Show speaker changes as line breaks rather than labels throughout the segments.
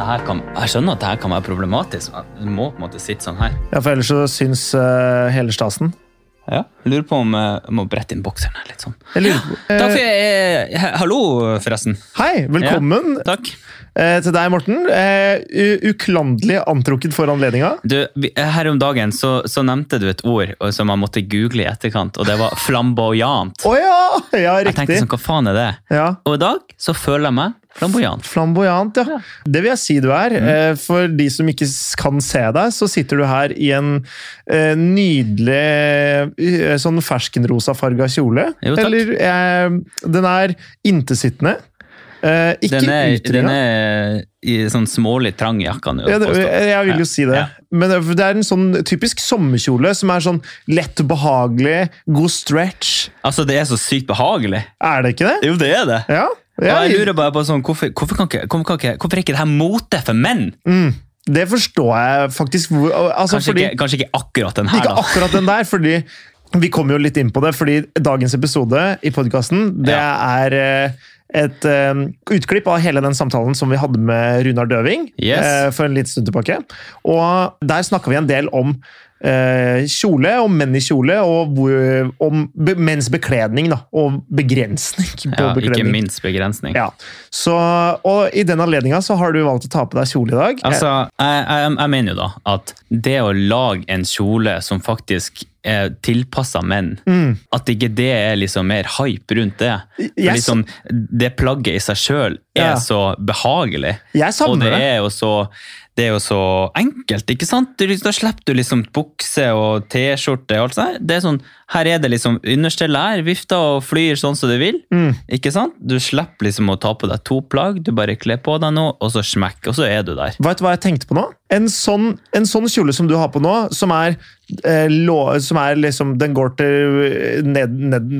jeg skjønner at det her kan være problematisk. men Du må på en måte sitte sånn her.
Ja, for ellers så syns eh, hele stasen.
Ja, jeg lurer på om eh, jeg må brette inn bokseren her litt sånn.
Jeg lurer på- eh,
Takk for jeg, eh, Hallo, forresten.
Hei, velkommen
Takk.
eh, til deg, Morten. Eh, u- uklanderlig antrukket for anledninga.
Du, vi- eh, her om dagen så, så nevnte du et ord og- som jeg måtte google i etterkant, og det var flamboyant.
Å ja! Ja,
Jeg tenkte
riktig.
sånn, hva faen er det?
Ja.
Og i dag så føler jeg meg flamboyant.
Flamboyant, ja.
Ja. Mm.
Det vil jeg si du er. Eh, For de som ikke s- kan se deg, så sitter du her i en eh, nydelig eh, sånn ferskenrosafarga kjole.
Jo, takk.
Eller eh, Den er intesittende. Eh, ikke
Den er, den
utringa.
er i sånn smålig trang jakka nå.
Ja, det- eh.
påstår jeg.
jeg jeg vil
Ja,
jo si det.
ja.
Men det er en sånn typisk sommerkjole som er sånn lett behagelig, god stretch.
Altså, det er så sykt behagelig.
Er det ikke det?
Jo, det er det.
Ja.
og jeg
ja
lurer bare på sånn, hvorfor, hvorfor, kan ikke, hvorfor, kan ikke, hvorfor er ikke det her mote for menn?
mm, det forstår jeg faktisk. hvor- Altså,
Kanskje,
fordi,
ikke, kanskje ikke akkurat den her,
Ikke
da.
akkurat den der, fordi vi kom jo litt inn på det, fordi dagens episode i podkasten, det er eh, et eh, utklipp av hele den samtalen som vi hadde med Runar Døving
Yes.
eh, for en liten stund tilbake. Og der snakka vi en del om eh, kjole, om menn i kjole, og hvor, om be menns bekledning, da. Og begrensning på
Ja, ikke
bekledning.
minst begrensning.
Ja. Så, og i den anledninga så har du valgt å ta på deg kjole i dag.
Altså, jeg, jeg, jeg mener jo da at det å lage en kjole som faktisk er tilpassa menn,
Eh,
at ikke det er liksom mer hype rundt det. For
mm. Jeg
liksom, det plagget i seg sjøl er
Ja.
så behagelig.
Jeg
Og
savner
det
det.
er jo så det er jo så enkelt, ikke sant? Du, da slipper du liksom bukse og T-skjorte og alt sånt. Det er sånn, her er det liksom understellet her, vifter og flyr sånn som du vil.
Mm.
Ikke sant? Du slipper liksom å ta på deg to plagg, du bare kler på deg noe, og så smekk, og så er du der.
Vet du hva jeg tenkte på nå? En sånn, en sånn kjole som du har på nå, som er, eh, lå, som er liksom Den går til eh, ned, ned,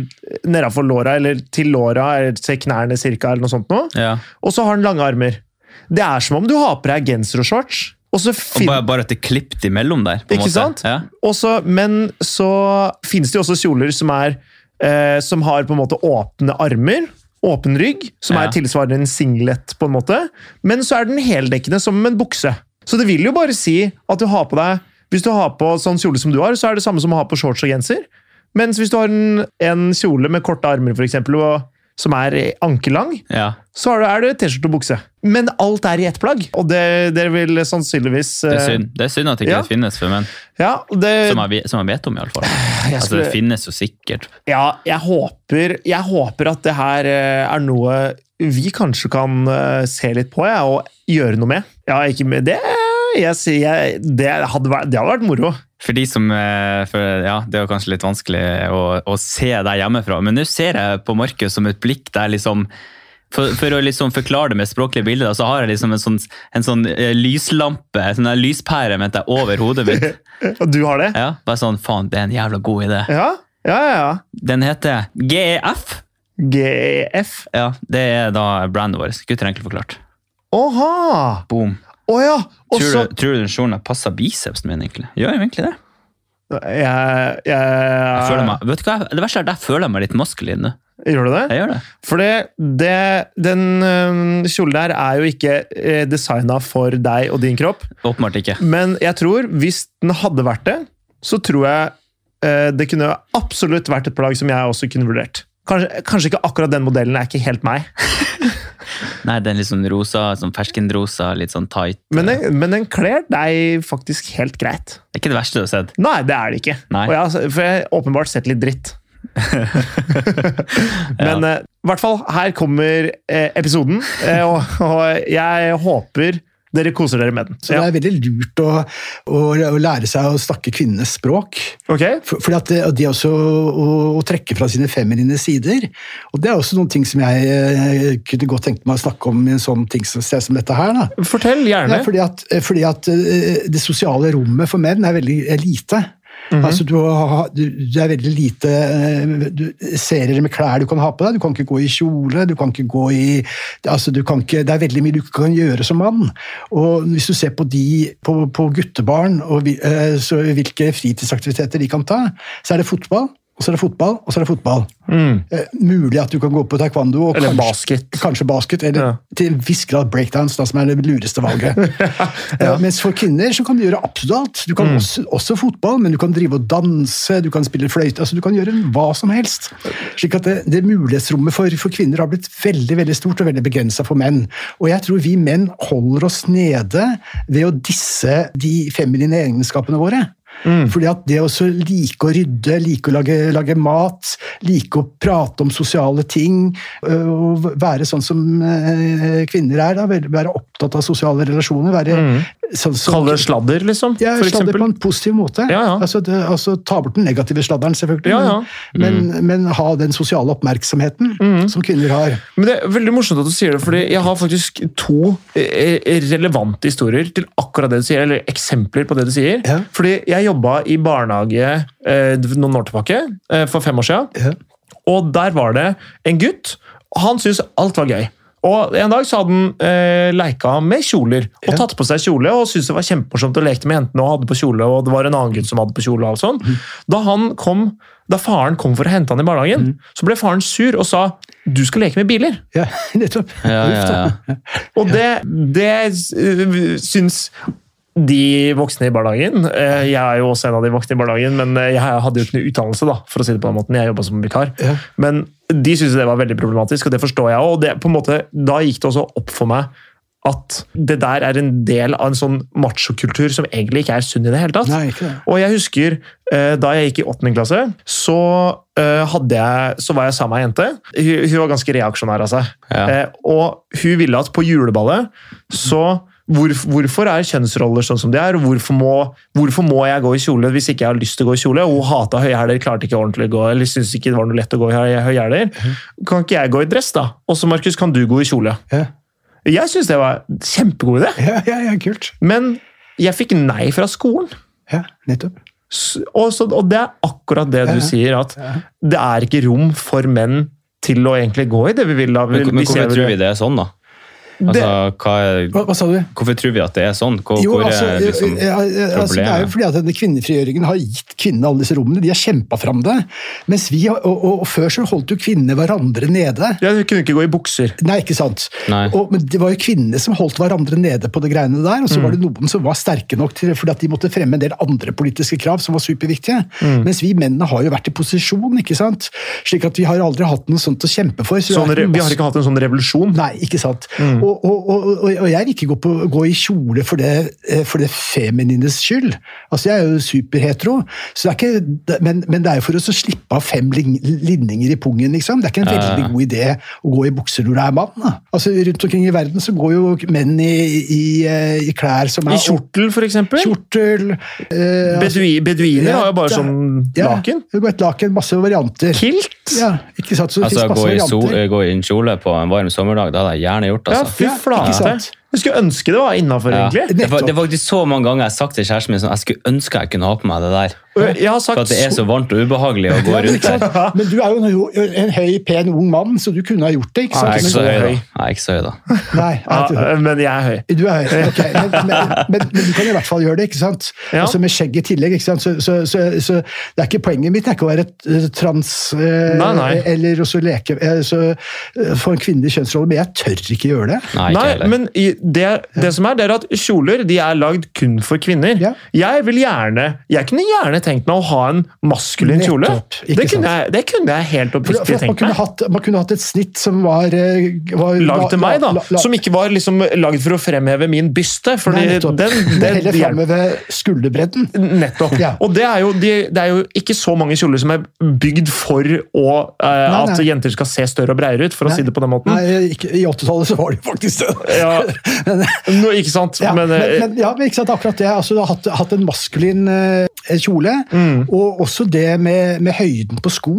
nedafor låra, eller til låra, eller til knærne cirka, eller noe sånt noe.
Ja.
Og så har den lange armer. Det er som om du har på deg genser og shorts. Og så
Og
fin-
bare, bare at det er klippet imellom der. på en
Ikke
måte.
sant?
Ja.
og så- men så finnes det jo også kjoler som er eh, som har på en måte åpne armer, åpen rygg, som
Ja.
er tilsvarende en singlet, på en måte. Men så er den heldekkende som en bukse. Så det vil jo bare si at du har på deg Hvis du har på sånn kjole som du har, så er det samme som å ha på shorts og genser. Mens hvis du har en, en kjole med korte armer, for eksempel, og, som er ankelang,
Ja.
så er det- er det T-skjorte og bukse. Men alt er i ett plagg, og det, det vil sannsynligvis
Det, er
eh,
synd. det er synd at ikke
ja.
det finnes for menn,
Ja, det,
som jeg, vet- som jeg vet om. i alle fall.
jeg
Altså,
skulle-
det finnes jo sikkert.
Ja, jeg håper, jeg håper at det her eh, er noe vi kanskje kan eh, se litt på, ja, og gjøre noe med. Ja, ikke med det jeg sier jeg, det, hadde vært, det hadde vært moro.
For de som, eh, for, ja, Det er jo kanskje litt vanskelig å, å se deg hjemmefra, men nå ser jeg på Markus som et blikk der liksom for, for å liksom forklare det med språklige bilder, da, så har jeg liksom en sånn, en sånn eh, lyslampe, en sånn der lyspære mente jeg, over hodet mitt.
Og du har det?
Ja, bare sånn, faen, det er en jævla god idé.
Ja, ja, ja. E, ja.
Den heter GEF.
GEF.
Ja, Det er da brandet vårt. Gutter enkelt forklart.
Åha!
Boom.
Å ja! Og så
Tror du, tror du den kjolen her passer bicepsen min, egentlig? Gjør jeg egentlig det?
jeg, jeg,
Jeg
Eh.
føler meg, vet du hva, det verste er at jeg føler meg litt maskulin nå.
Gjør du det?
Jeg gjør det.
For det, det, den øhm, kjolen der er jo ikke eh, designa for deg og din kropp.
Åpenbart ikke.
Men jeg tror, hvis den hadde vært det, så tror jeg eh, det kunne absolutt vært et plagg som jeg også kunne vurdert. Kanskje, kanskje ikke akkurat den modellen er ikke helt meg,
Nei, den litt sånn rosa, sånn ferskenrosa, litt sånn tight.
men den, men den kler deg faktisk helt greit.
Det er ikke det verste du har sett.
Nei, det er det ikke.
Nei.
Og jeg, har- for jeg har åpenbart sett litt dritt. men eh, i hvert fall, her kommer eh, episoden, eh, og, og jeg håper dere koser dere med den.
Så det er veldig lurt å, å, å lære seg å snakke kvinnenes språk.
Ok?
For, fordi at det, at det også å, å trekke fra sine feminine sider. Og det er også noen ting som jeg eh, kunne godt tenke meg å snakke om i en sånn ting som, sted som dette her. da.
Fortell gjerne.
Ja, fordi at, fordi at eh, det sosiale rommet for menn er veldig er lite. altså, du, har- du, du er veldig lite eh, du, serier med klær du kan ha på deg. Du kan ikke gå i kjole, du kan ikke gå i altså, du kan ikke, Det er veldig mye du ikke kan gjøre som mann. Og Hvis du ser på de på, på guttebarn og vi- eh, så hvilke fritidsaktiviteter de kan ta, så er det fotball. og så er det fotball, og så er det fotball.
Mm.
Eh, mulig at du kan gå på taekwondo og
Eller
kanskje,
basket.
kanskje basket, eller
Ja.
til en viss grad breakdance, da, som er det lureste valget. Eh, Mens for kvinner så kan du gjøre absolutt alt. Du
Mm.
kan også, også fotball, men du kan drive og danse, du kan spille fløyte, altså du kan gjøre hva som helst. Slik at det, det mulighetsrommet for, for kvinner har blitt veldig veldig stort og veldig begrensa for menn. Og jeg tror vi menn holder oss nede ved å disse de feminine egenskapene våre.
Mm.
Fordi at det å så like å rydde, like å lage, lage mat, like å prate om sosiale ting, ø, og være sånn som ø, kvinner er, da, vel- være opptatt av sosiale relasjoner, være sånn som
Kalle Mm. det sladder, liksom.
ja,
for
sladder
eksempel.
på en positiv måte.
Ja, ja.
Altså, det, altså Ta bort den negative sladderen, selvfølgelig,
Ja, ja. Mm.
Men, men ha den sosiale oppmerksomheten som kvinner har.
Men det er veldig morsomt at du sier det, fordi jeg har faktisk to eh, relevante historier til akkurat det du sier, eller eksempler på det du sier.
Ja.
Fordi jeg jobba i barnehage eh, noen år tilbake, eh, for fem år siden.
Ja.
Og der var det en gutt, og han syntes alt var gøy. Og En dag så hadde han eh, leika med kjoler, og
Ja.
tatt på seg kjole. Og syntes det var kjempemorsomt å leke med jentene, og hadde på kjole, og det var en annen gutt som hadde på kjole. og alt sånt.
Mm.
Da, han kom, da faren kom for å hente han i barnehagen,
Mm.
så ble faren sur og sa du skal leke med biler.
Ja, nettopp.
Ja, ja,
Uff, da.
ja.
Og det, det øh, syns de voksne i barnehagen eh, Jeg er jo også en av de voksne i barnehagen, men eh, jeg hadde jo ikke noe utdannelse, da, for å si det på den måten. Jeg jobba som vikar.
Ja.
Men de syntes det var veldig problematisk, og det forstår jeg òg. Og det, på en måte, da gikk det også opp for meg at det der er en del av en sånn machokultur som egentlig ikke er sunn i det hele tatt.
Nei, ikke det.
Og jeg husker eh, da jeg gikk i åttende klasse, så, eh, hadde jeg, så var jeg sammen med ei jente. Hun, hun var ganske reaksjonær av seg.
Ja.
Eh, og hun ville at på juleballet så hvorf- Hvorfor er kjønnsroller sånn som de er? Hvorfor må, hvorfor må jeg gå i kjole hvis ikke jeg har lyst til å gå i kjole? Hun hata høye hæler, klarte ikke ordentlig å gå, eller syntes ikke det var noe lett å gå i hø- høye hæler. Kan ikke jeg gå i dress, da? Også, Markus, kan du gå i kjole?
Ja.
Jeg syns det var en kjempegod idé,
Ja, ja, ja, kult.
men jeg fikk nei fra skolen.
Ja, nettopp.
S- Og, så, og det er akkurat det du
Ja.
sier, at det er ikke rom for menn til å egentlig gå i det vi vil. Da. Vi,
Men, men hvorfor tror vi
det?
det er sånn, da? Altså, hva er,
Hva, hva sa du?
hvorfor tror vi at det er sånn? Hvor,
Jo,
hvor
altså,
er liksom
ja, ja, altså, det er jo
problemet?
fordi at denne kvinnefrigjøringen har gitt kvinnene alle disse rommene. De har kjempa fram det. Mens vi, har- og, og, og før så holdt jo kvinnene hverandre nede.
Jeg kunne ikke gå i bukser.
Nei, ikke sant.
Nei.
Og, men det var jo kvinnene som holdt hverandre nede på det greiene der. Og så var det noen som var sterke nok til fordi at de måtte fremme en del andre politiske krav som var superviktige. Mens vi mennene har jo vært i posisjon, ikke sant. Slik at vi har aldri hatt noe sånt å kjempe for. Så det
Sånn,
er
re- vi
ikke masse-
har ikke hatt en sånn revolusjon. Mm.
Nei, ikke sant. Og, og, og, og og jeg vil ikke gå, på, gå i kjole for det, eh, for det feminines skyld. Altså, Jeg er jo superhetero, så det er ikke, det- men, men det er jo for å så slippe av fem lin- linninger i pungen. liksom. Det er ikke en
Ja, ja, ja.
veldig god idé å gå i bukser når du er mann. da. Altså, Rundt omkring i verden så går jo menn i, i, eh, i klær som er
I kjortel, for eksempel.
kjortel eh, altså-
Bedui, beduiner
Ja,
har jo bare
det-
sånn
ja,
laken.
det går Et laken, masse varianter.
Kilt! Ja,
Ja, ikke sant? Så det
Altså,
finnes masse
gå i, sol,
varianter.
gå i en kjole på en varm sommerdag, det hadde jeg gjerne gjort, altså.
fy
Ja, ikke
flate.
sant.
Jeg skulle ønske det var innafor,
Ja.
egentlig.
Det, er fa-
Nettopp.
det er faktisk så mange ganger jeg har sagt til kjæresten min sånn, jeg skulle ønske jeg kunne ha på meg det der.
Og Jeg har
For
sagt
at det er så varmt og ubehagelig å gå
Ja,
rundt der.
ikke sant? Men du er jo en, høy- en høy, pen, ung mann, så du kunne ha gjort det. ikke
Jeg er ikke
sant?
så høy, da.
høy.
Jeg er ikke så høy, da.
Men, nei,
ja,
jeg tror-
Men jeg er høy.
du er høy, ok. Men, men, men, men du kan i hvert fall gjøre det, ikke sant?
Ja.
Altså Med skjegg i tillegg. ikke sant? Så, så, så, så det er ikke Poenget mitt det er ikke å være eh, trans eh,
Nei, nei.
eller også leke eh, så, eh, for en kvinnelig kjønnsrolle, men jeg tør ikke gjøre det.
Nei, ikke
Nei,
heller.
men i- det, det som er, det er at kjoler de er lagd kun for kvinner.
Ja.
Jeg vil gjerne, jeg kunne gjerne tenkt meg å ha en maskulin kjole.
Nettopp, ikke
Det
sant?
kunne, jeg, det kunne jeg helt
For, for
oppriktig
at man,
tenkt
kunne
meg.
hatt, man kunne hatt et snitt som var, eh, var
Lagd til meg, da.
la- la-
Som ikke var liksom lagd for å fremheve min byste. Fordi
Nei, nettopp.
den,
Men
den,
Heller framme ved skulderbredden.
Nettopp.
Ja.
Og det er, jo, de, det er jo ikke så mange kjoler som er bygd for å, eh,
Nei,
at
nei.
jenter skal se større og breiere ut, for å
Nei.
si det på den måten.
Nei, ikke, I 80-tallet så var det jo faktisk det.
Ja, nå, ikke sant?
Ja, men,
men, eh,
men, ja, men ikke sant, akkurat det. Altså, du har hatt, hatt en maskulin eh, kjole,
Mm.
og også det med, med høyden på sko.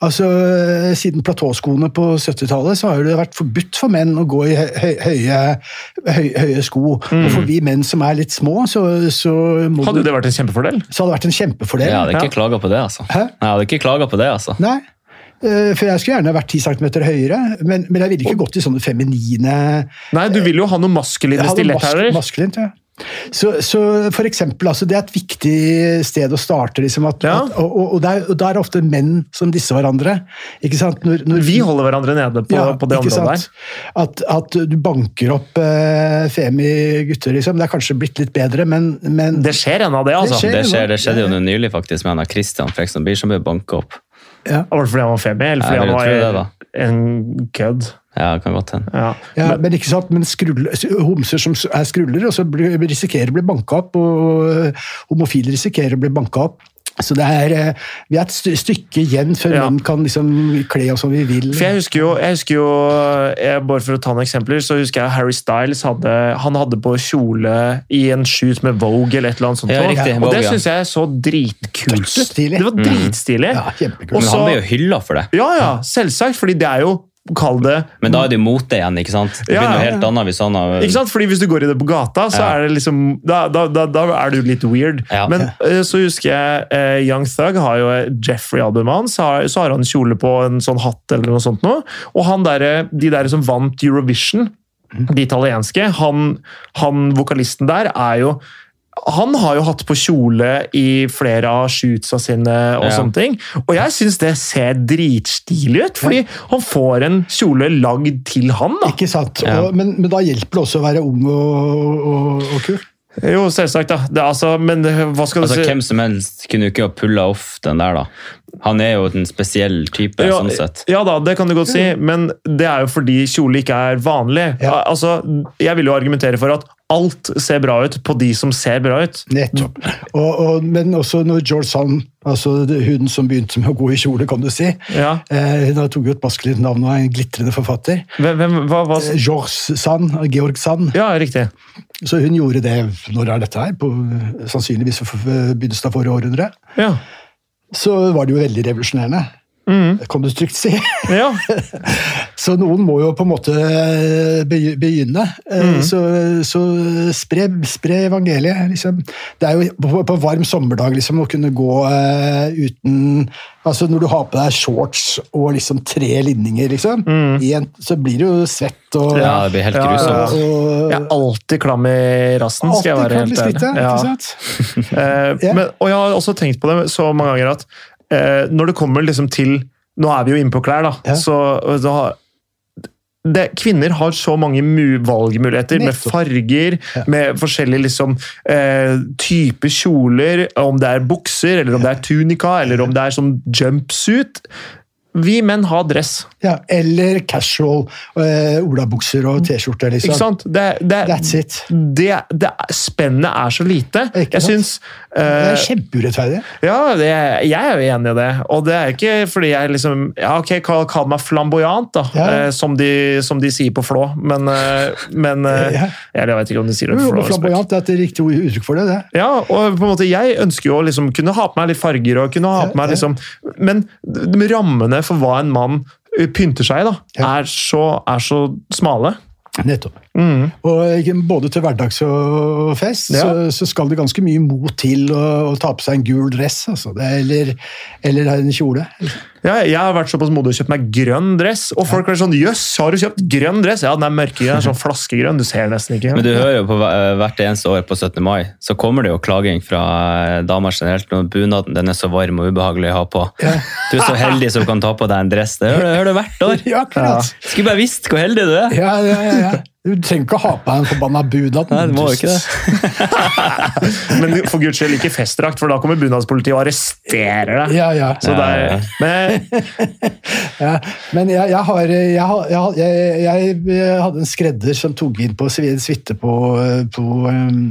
Altså, eh, Siden platåskoene på 70-tallet så har jo det vært forbudt for menn å gå i hø- høy, høye, høy, høye sko. Og for vi menn som er litt små, så, så, må
Mm. hadde jo
du,
det vært en kjempefordel.
så hadde det vært en kjempefordel.
Jeg hadde
Ja.
ikke klaga på det, altså.
Hæ?
Jeg hadde ikke klaga på det, altså.
Nei. Eh, For jeg skulle gjerne vært 10 cm høyere, men, men jeg ville ikke gått i sånne feminine
Nei, du vil jo ha noe maskuline
Jeg hadde
stiletthæler.
mas- maskulint, ja. Så, så for eksempel, altså, Det er et viktig sted å starte. Liksom, at,
Ja.
at, og, og, og, det er, og det er ofte menn som disser hverandre. ikke sant? Når, når
Vi holder hverandre nede på,
Ja,
på det
ikke
området der.
sant? At, at du banker opp eh, femi-gutter, liksom. Det er kanskje blitt litt bedre, men, men
Det skjer ennå, det, altså.
skjer.
Det
Det, skjer, det skjedde jo noe nylig faktisk med han Kristian Frekstad Bier som ble banka opp.
Var det fordi han var femi, eller
Jeg
fordi
vil jo tro
han
det,
var en kødd?
Ja, det kan godt hende.
Ja.
ja, men, ikke sant, men skrulle, homser som er skruller, og så blir- risikerer å bli banka opp, og eh, homofile risikerer å bli banka opp. Så det er, eh, vi er et st- stykke igjen før
Ja.
menn kan liksom kle oss som vi vil.
For jeg husker jo, jeg husker jo jeg, Bare for å ta noen eksempler, så husker jeg Harry Styles hadde, han hadde på kjole i en shoot med Vogue eller et eller annet sånt.
Ja,
også.
riktig,
og
Vogue, ja.
det
Mm.
syns jeg så dritkult ut.
Dødsstilig.
Det var dritstilig.
Ja, kjempekult.
Men
Også-
han ble jo hylla for det.
Ja, ja, selvsagt, fordi det er jo Kall det
Men da er det jo mote igjen, ikke sant? Det
Ja,
blir
ja,
noe
ja.
helt annet hvis han har
Ikke sant? Fordi hvis du går i det på gata, så
Ja.
er det liksom Da, da, da, da er du litt weird.
Ja.
Men eh, så husker jeg eh, Young Thug har jo Jeffrey-albumet hans. har- Så har han kjole på en sånn hatt eller noe sånt noe. Og han derre- de der som vant Eurovision, de italienske, han, han vokalisten der er jo han har jo hatt på kjole i flere av shootsa sine, og
Ja.
sånne ting. Og jeg syns det ser dritstilig ut, fordi han får en kjole lagd til han. da.
Ikke sant?
Ja.
Og, men, men da hjelper det også å være ung og, og, og kul.
Jo, selvsagt, da. Det, er altså, men det- hva skal du
Altså,
si?
Hvem som helst kunne jo ikke ha pulla off den der, da. Han er jo en spesiell type,
ja,
sånn sett.
ja da, det kan du godt si, men det er jo fordi kjole ikke er vanlig.
Mm. Ja.
Al- Altså, jeg vil jo argumentere for at alt ser bra ut på de som ser bra ut.
Nettopp. Og, og, men også når George Sand, altså det- hun som begynte med å gå i kjole, kan du si
Ja.
eh, Hun har tok jo et maskulint navn og er en glitrende forfatter.
Hvem, hvem, hva, hva?
Eh, George Sand, Georg Sand.
Ja, riktig.
Så hun gjorde det når er dette her? På, sannsynligvis for- for begynnelsen av forrige århundre.
Ja.
Så var det jo veldig revolusjonerende.
Mm.
Kan du trygt si.
ja.
Så noen må jo på en måte eh, begy- begynne.
Mm.
Eh, Så, så spre, spre evangeliet, liksom. Det er jo på, på varm sommerdag liksom, å kunne gå eh, uten Altså når du har på deg shorts og liksom tre linninger, liksom, i en- så blir du jo svett og,
Ja, det blir helt
Mm. Ja, ja,
grusomt.
ja.
og
Jeg er alltid klam i rassen, skal jeg
Alltid
være
kan
helt ærlig.
bli slitt, ja,
Ja.
ikke sant?
Eh,
Ja.
men, og jeg har også tenkt på det så mange ganger at eh, når det kommer liksom til Nå er vi jo inne på klær, da.
Ja.
Så, så har, det, kvinner har så mange mu valgmuligheter med
Nettopp.
farger, med forskjellige liksom, eh, typer kjoler, om det er bukser, eller om det er tunika, eller om det er sånn jumpsuit. Vi menn har dress,
Ja, eller casual eh, olabukser og T-skjorte,
ikke
liksom.
sant? Det, det,
That's it.
det, det, spennet er så lite.
Ikke
Jeg
sant?
syns
Det
eh,
er kjempeurettferdig.
Ja, det, jeg er jo enig i det. Og det er ikke fordi jeg liksom Ja, ok, kall, kall meg flamboyant, da,
Ja.
eh, som, de, som de sier på Flå, men, eh, men eh,
Ja.
Eller jeg vet ikke om de sier det på Flå.
Jo, men
respekt.
Flamboyant det er et riktig uttrykk for det. det.
Ja, og på en måte, jeg ønsker jo å liksom kunne ha på meg litt farger, og kunne ha på meg
ja.
liksom Men de rammene for hva en mann eh, pynter seg i, da,
Ja.
er, så, er så smale.
Nettopp. Og ikke- både til hverdags og fest
Ja.
så, så skal det ganske mye mot til å, å ta på seg en gul dress, altså. Det, eller, eller en kjole.
Ja, jeg har vært såpass modig og kjøpt meg grønn dress, og folk er sånn Jøss, har du kjøpt grønn dress? Ja, den er mørkegrønn, sånn flaskegrønn, du ser nesten ikke.
Men du hører jo på hver- hvert eneste år på 17. mai, så kommer det jo klaging fra eh, damer generelt når bunaden den er så varm og ubehagelig å ha på. Du er så heldig som kan ta på deg en dress. Det hører, hører du hvert år.
Ja, akkurat!
Skulle bare visst hvor heldig du er.
Ja, ja, ja, ja. Du trenger ikke å ha på deg en forbanna bunad.
Nei, du må jo ikke det.
Men for guds skyld, ikke festdrakt, for da kommer bunadspolitiet og arresterer deg.
Ja, ja.
Så det
Ja, ja, ja.
er, men,
Ja, men jeg, jeg har jeg, har- jeg, har- jeg, jeg, jeg hadde en skredder som tok inn på en suite på, eh, på ehm,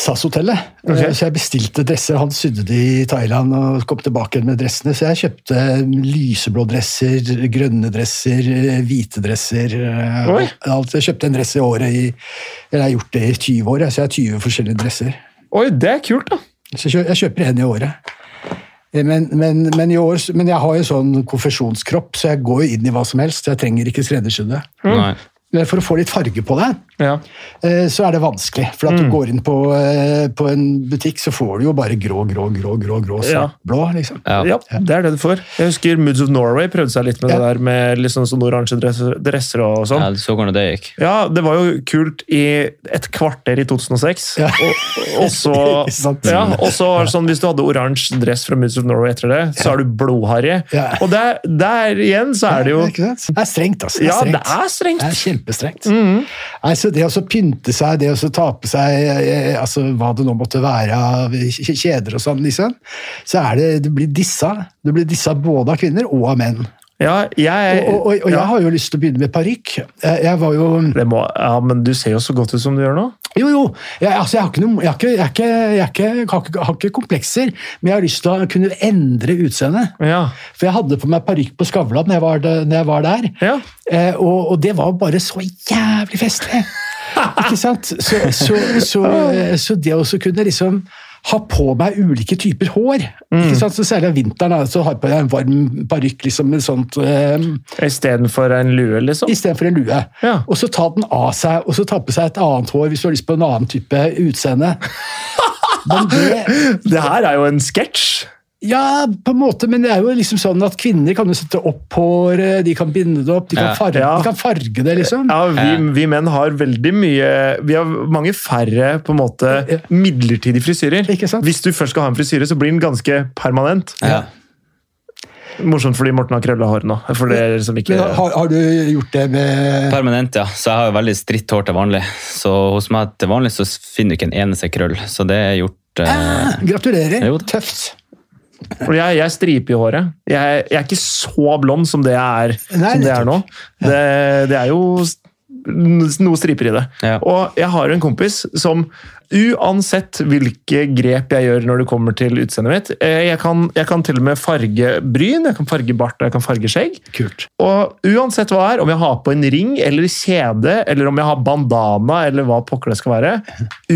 SAS-hotellet.
Ok.
Eh, Så jeg bestilte dresser. Han sydde de i Thailand og kom tilbake igjen med dressene. Så jeg kjøpte lyseblå dresser, grønne dresser, eh, hvite dresser. eh,
Oi.
og Alt. Jeg kjøpte en dress i året i Eller jeg har gjort det i 20 år, jeg, så jeg har 20 forskjellige dresser.
oi, det er kult, da.
Så kjø- jeg kjøper en i året. Eh, Men, men, men, i år, men jeg har jo sånn konfesjonskropp, så jeg går jo inn i hva som helst. Jeg trenger ikke skreddersydde.
Nei.
eh, for å få litt farge på det,
Ja.
eh, så er det vanskelig. For at
Mm.
du går inn på, eh, på en butikk, så får du jo bare grå, grå, grå, grå, grå,
Ja.
svart, blå, liksom.
Ja.
Ja, det er det du får. Jeg husker Moods of Norway prøvde seg litt med
Ja.
det der med litt sånn sånn oransje dresser, dresser og sånn.
Ja, du så hvordan det gikk.
Ja, det var jo kult i et kvarter i 2006.
Ja.
Og, og så,
Ikke sant?
ja, og så var det sånn, hvis du hadde oransje dress fra Moods of Norway etter det, så er du blodharry.
Ja.
Og der, der igjen så er det jo
Ikke sant? Det er strengt, altså.
Ja, det
strengt.
er strengt!
Det er kjempestrengt. Nei, så det å så pynte seg, det å så ta på seg eh, altså, hva det nå måtte være av kj- kjeder og sånn, liksom, så er det, du blir dissa. Du blir dissa både av kvinner og av menn.
Ja, jeg
Og, og, og, og
ja.
jeg har jo lyst til å begynne med parykk. Jeg, jeg var jo
det må, ja, men du ser jo så godt ut som du gjør nå.
Jo, jo. Jeg, altså, jeg, har ikke noe, jeg, har ikke, jeg, har ikke, jeg, har ikke, har ikke, har ikke komplekser, men jeg har lyst til å kunne endre utseendet.
Ja.
For jeg hadde på meg parykk på Skavlan når jeg var, de- når jeg var der.
Ja.
Eh, og, og det var bare så jævlig festlig! Ikke sant? Så, så, så, eh, så det å så kunne liksom ha på meg ulike typer hår
Mm.
ikke sant? Så Særlig om vinteren da, så har jeg på meg en varm parykk liksom, med sånt, eh,
Istedenfor en lue, liksom.
istedenfor en lue.
Ja.
Og så ta den av seg, og så ta på seg et annet hår hvis du har lyst på en annen type utseende. Men det,
Det her er jo en sketsj.
ja, på en måte, men det er jo liksom sånn at kvinner kan jo sette opp håret, de kan binde det opp, de kan
Ja.
farge,
Ja.
de kan farge det, liksom.
Ja, vi,
Ja.
vi menn har veldig mye Vi har mange færre på en måte midlertidige frisyrer.
Ikke sant?
Hvis du først skal ha en frisyre, så blir den ganske permanent.
Ja.
Morsomt fordi Morten har krølla hår nå. For dere som ikke
Men har, har du gjort det med
Permanent, ja. Så jeg har jo veldig stritt hår til vanlig. Så hos meg til vanlig så finner du ikke en eneste krøll. Så det er gjort
Ah!
eh,
Gratulerer.
Jo da.
Tøft.
For jeg, jeg striper i håret. Jeg, jeg er ikke så blond som det jeg er,
Nei,
som det er nå. Det, det er jo s- noe striper i det.
Ja.
Og jeg har en kompis som Uansett hvilke grep jeg gjør når det kommer til utseendet mitt eh, jeg kan, jeg kan til og med farge bryn, jeg kan farge bart og jeg kan farge skjegg.
Kult.
Og uansett hva det er, om jeg har på en ring eller kjede, eller om jeg har bandana, eller hva pokker det skal være,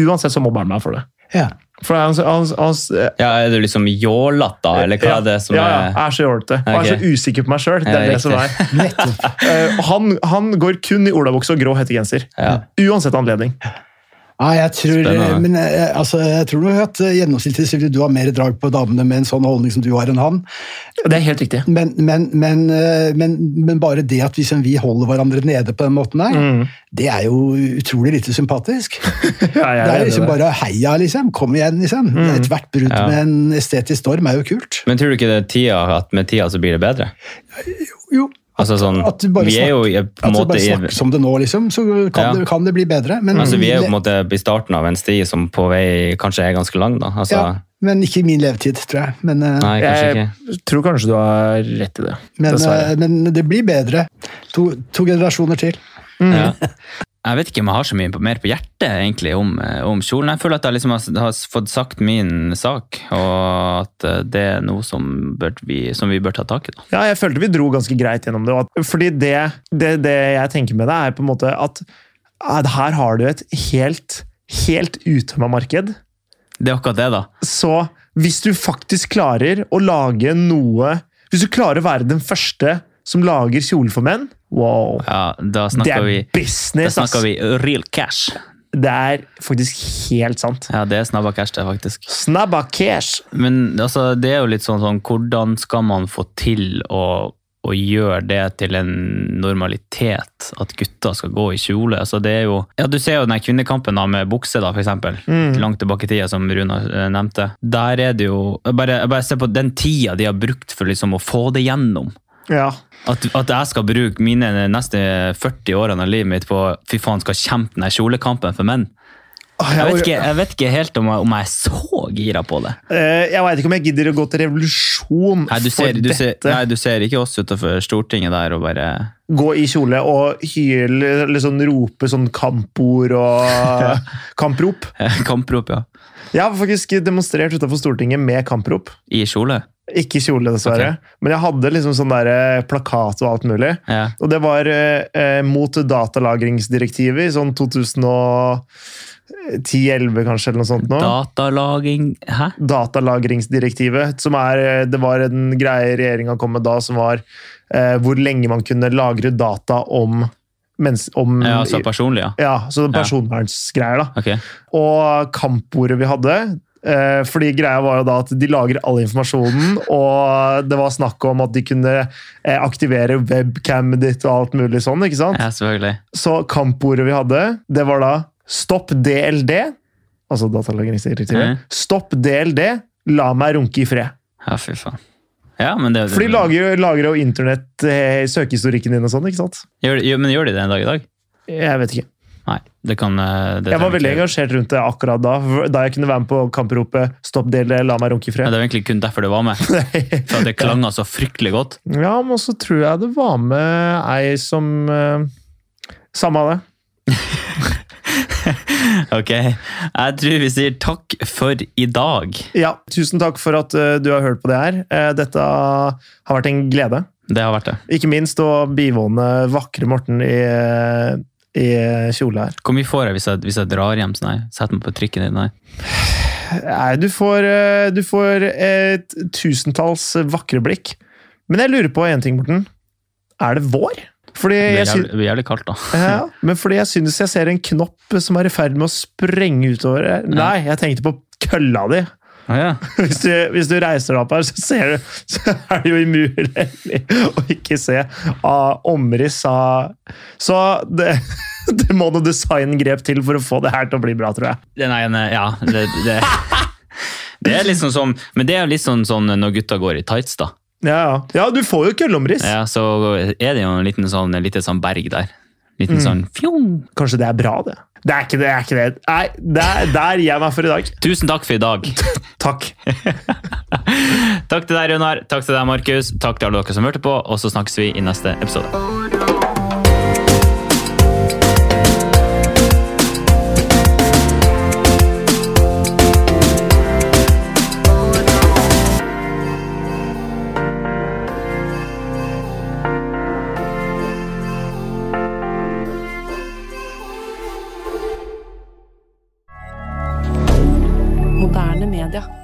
uansett så mobber han meg for det.
Ja.
For han, han, han,
ja, Er du liksom jålete, da? Eller hva er det som
ja, ja,
er
jeg er så jålete. Og jeg er så usikker på meg sjøl. Det
Ja,
er det som er.
riktig.
Nettopp.
Eh, han, han går kun i olabukse og grå hettegenser.
Ja.
Uansett anledning.
Ja, jeg tror,
Spennende.
men, eh, altså, jeg tror nok at eh, gjennomsnittlig så vil du ha mer drag på damene med en sånn holdning som du har enn han.
Det er helt riktig.
Men, men, men, eh, men, men bare det at liksom vi holder hverandre nede på den måten der, det er jo utrolig lite sympatisk.
Ja, jeg
Det er
enig i
liksom bare heia, liksom. Kom igjen, liksom. Ethvert brudd
Ja.
med en estetisk storm er jo kult.
Men tror du ikke det er tida, at med tida så blir det bedre?
Jo,
Altså sånn,
At du bare
vi er jo i- på
at
en
du
måte
bare
i,
snakker som det nå, liksom, så kan,
Ja.
det, kan det bli bedre. Men,
altså, vi er jo på en måte i starten av en sti som på vei kanskje er ganske lang, da. Altså,
ja, men ikke i min levetid, tror jeg. Men, eh,
Nei, kanskje ikke.
Jeg tror kanskje du har rett i det.
men,
Dessverre.
eh, men det blir bedre. To, to generasjoner til.
Ja. Jeg vet ikke om jeg har så mye på- mer på hjertet egentlig om, eh, om kjolen. Jeg føler at jeg liksom har, s- har s- fått sagt min sak, og at eh, det er noe som, bør vi, som vi bør ta tak i. Da.
Ja, jeg følte vi dro ganske greit gjennom det. og at- Fordi det, det, det jeg tenker med det, er på en måte at, at her har du et helt, helt uttømma marked.
Det er akkurat det, da.
Så hvis du faktisk klarer å lage noe Hvis du klarer å være den første som lager kjole for menn, wow!
Ja, da
Det
snakker
er
vi da
business, ass!
snakker vi real cash.
Det er faktisk helt sant.
Ja, det er snabba cash, det, faktisk.
Snabba cash!
Men altså, det er jo litt sånn, sånn hvordan skal man få til å, å gjøre det til en normalitet, at gutter skal gå i kjole? Altså, det er jo, ja, du ser jo den her kvinnekampen da, med bukse, da, for eksempel. langt tilbake i tida, som Runa eh, nevnte. Der er det jo jeg Bare, jeg bare se på den tida de har brukt for liksom å få det gjennom.
Ja.
At, at jeg skal bruke mine neste 40 årene av livet mitt på fy faen, skal kjempe den her kjolekampen for menn. Jeg vet ikke, jeg vet ikke helt om jeg, om jeg er så gira på det.
Eh, jeg veit ikke om jeg gidder å gå til revolusjon
Nei, du ser,
for
du
dette.
ser, nei, du ser ikke oss utenfor Stortinget der og bare
gå i kjole og hyle, eller sånn rope sånn kampord og kamprop.
Kamprop, eh, ja.
Jeg har faktisk demonstrert utenfor Stortinget med kamprop.
I kjole.
Ikke kjole, dessverre. Men jeg hadde liksom sånn der eh, plakat og alt mulig.
Ja.
Og det var eh, eh, mot datalagringsdirektivet i sånn 2010-11 kanskje, eller noe sånt nå.
Datalagring Hæ?
datalagringsdirektivet, som er, eh, det var en greie regjeringa kom med da, som var eh, hvor lenge man kunne lagre data om mens, om
Ja, altså personlig, ja.
Ja, så det er personvernsgreier, da.
Ok.
Og kampordet vi hadde eh, fordi greia var jo da at De lager all informasjonen, og det var snakk om at de kunne eh, aktivere webcamet ditt og alt mulig sånn. ikke sant?
Ja, selvfølgelig.
Så kampordet vi hadde, det var da stopp DLD. Altså datalagringsdirektivet.
Mhm.
Stopp DLD, la meg runke i fred.
Ja, fy faen. Ja, men det,
For de lager, lager jo internett, eh, søkehistorikken din og sånn, ikke sant?
Gjør, gjør, men gjør de det en dag i dag?
Jeg vet ikke.
Nei. Det kan eh, det
Jeg var
trenger
veldig
ikke-
engasjert rundt det akkurat da. Da jeg kunne være med på kampropet 'Stopp DLD, la meg runke i
Ja,
fred'.
det var egentlig kun derfor det var med. For at det klanga så fryktelig godt.
Ja, men så tror jeg det var med ei som eh, Samme av det.
Ok. Jeg tror vi sier takk for i dag.
Ja, tusen takk for at eh, du har hørt på det her. Eh, dette har vært en glede.
Det har vært det.
Ikke minst å bivåne vakre Morten i, eh, i kjole her.
Hvor mye får jeg hvis jeg, hvis jeg drar hjem sånn her? Setter meg på trikken din? Nei.
Nei, du får, eh, du får et tusentalls vakre blikk. Men jeg lurer på én ting, Morten. Er det vår? Fordi
Det
jeg,
blir
syn
jævlig, det blir jævlig kaldt, da.
ja, men fordi jeg synes jeg ser en knopp som er i ferd med å sprenge utover her. Nei, jeg tenkte på kølla di.
Å ja.
Hvis du, hvis du reiser deg opp her, så, ser du, så er det jo umulig å ikke se ah, omriss av Så det, det må noe designgrep til for å få det her til å bli bra, tror jeg.
Det, nei, nei, ja. Det, det, det er liksom som Men det er jo litt sånn, sånn når gutta går i tights, da.
Ja, ja. ja du får jo kølleomriss.
Ja, så er det jo en liten sånn, en liten sånn berg der. Liten sånn fjong.
Kanskje det er bra, det. Det er ikke det. det er ikke det. Nei, det er der gir jeg meg for i dag.
Tusen takk for i dag.
Takk.
Takk til deg, Runar. Takk til deg, Markus. Takk til alle dere som hørte på, og så snakkes vi i neste episode.
Moderne media.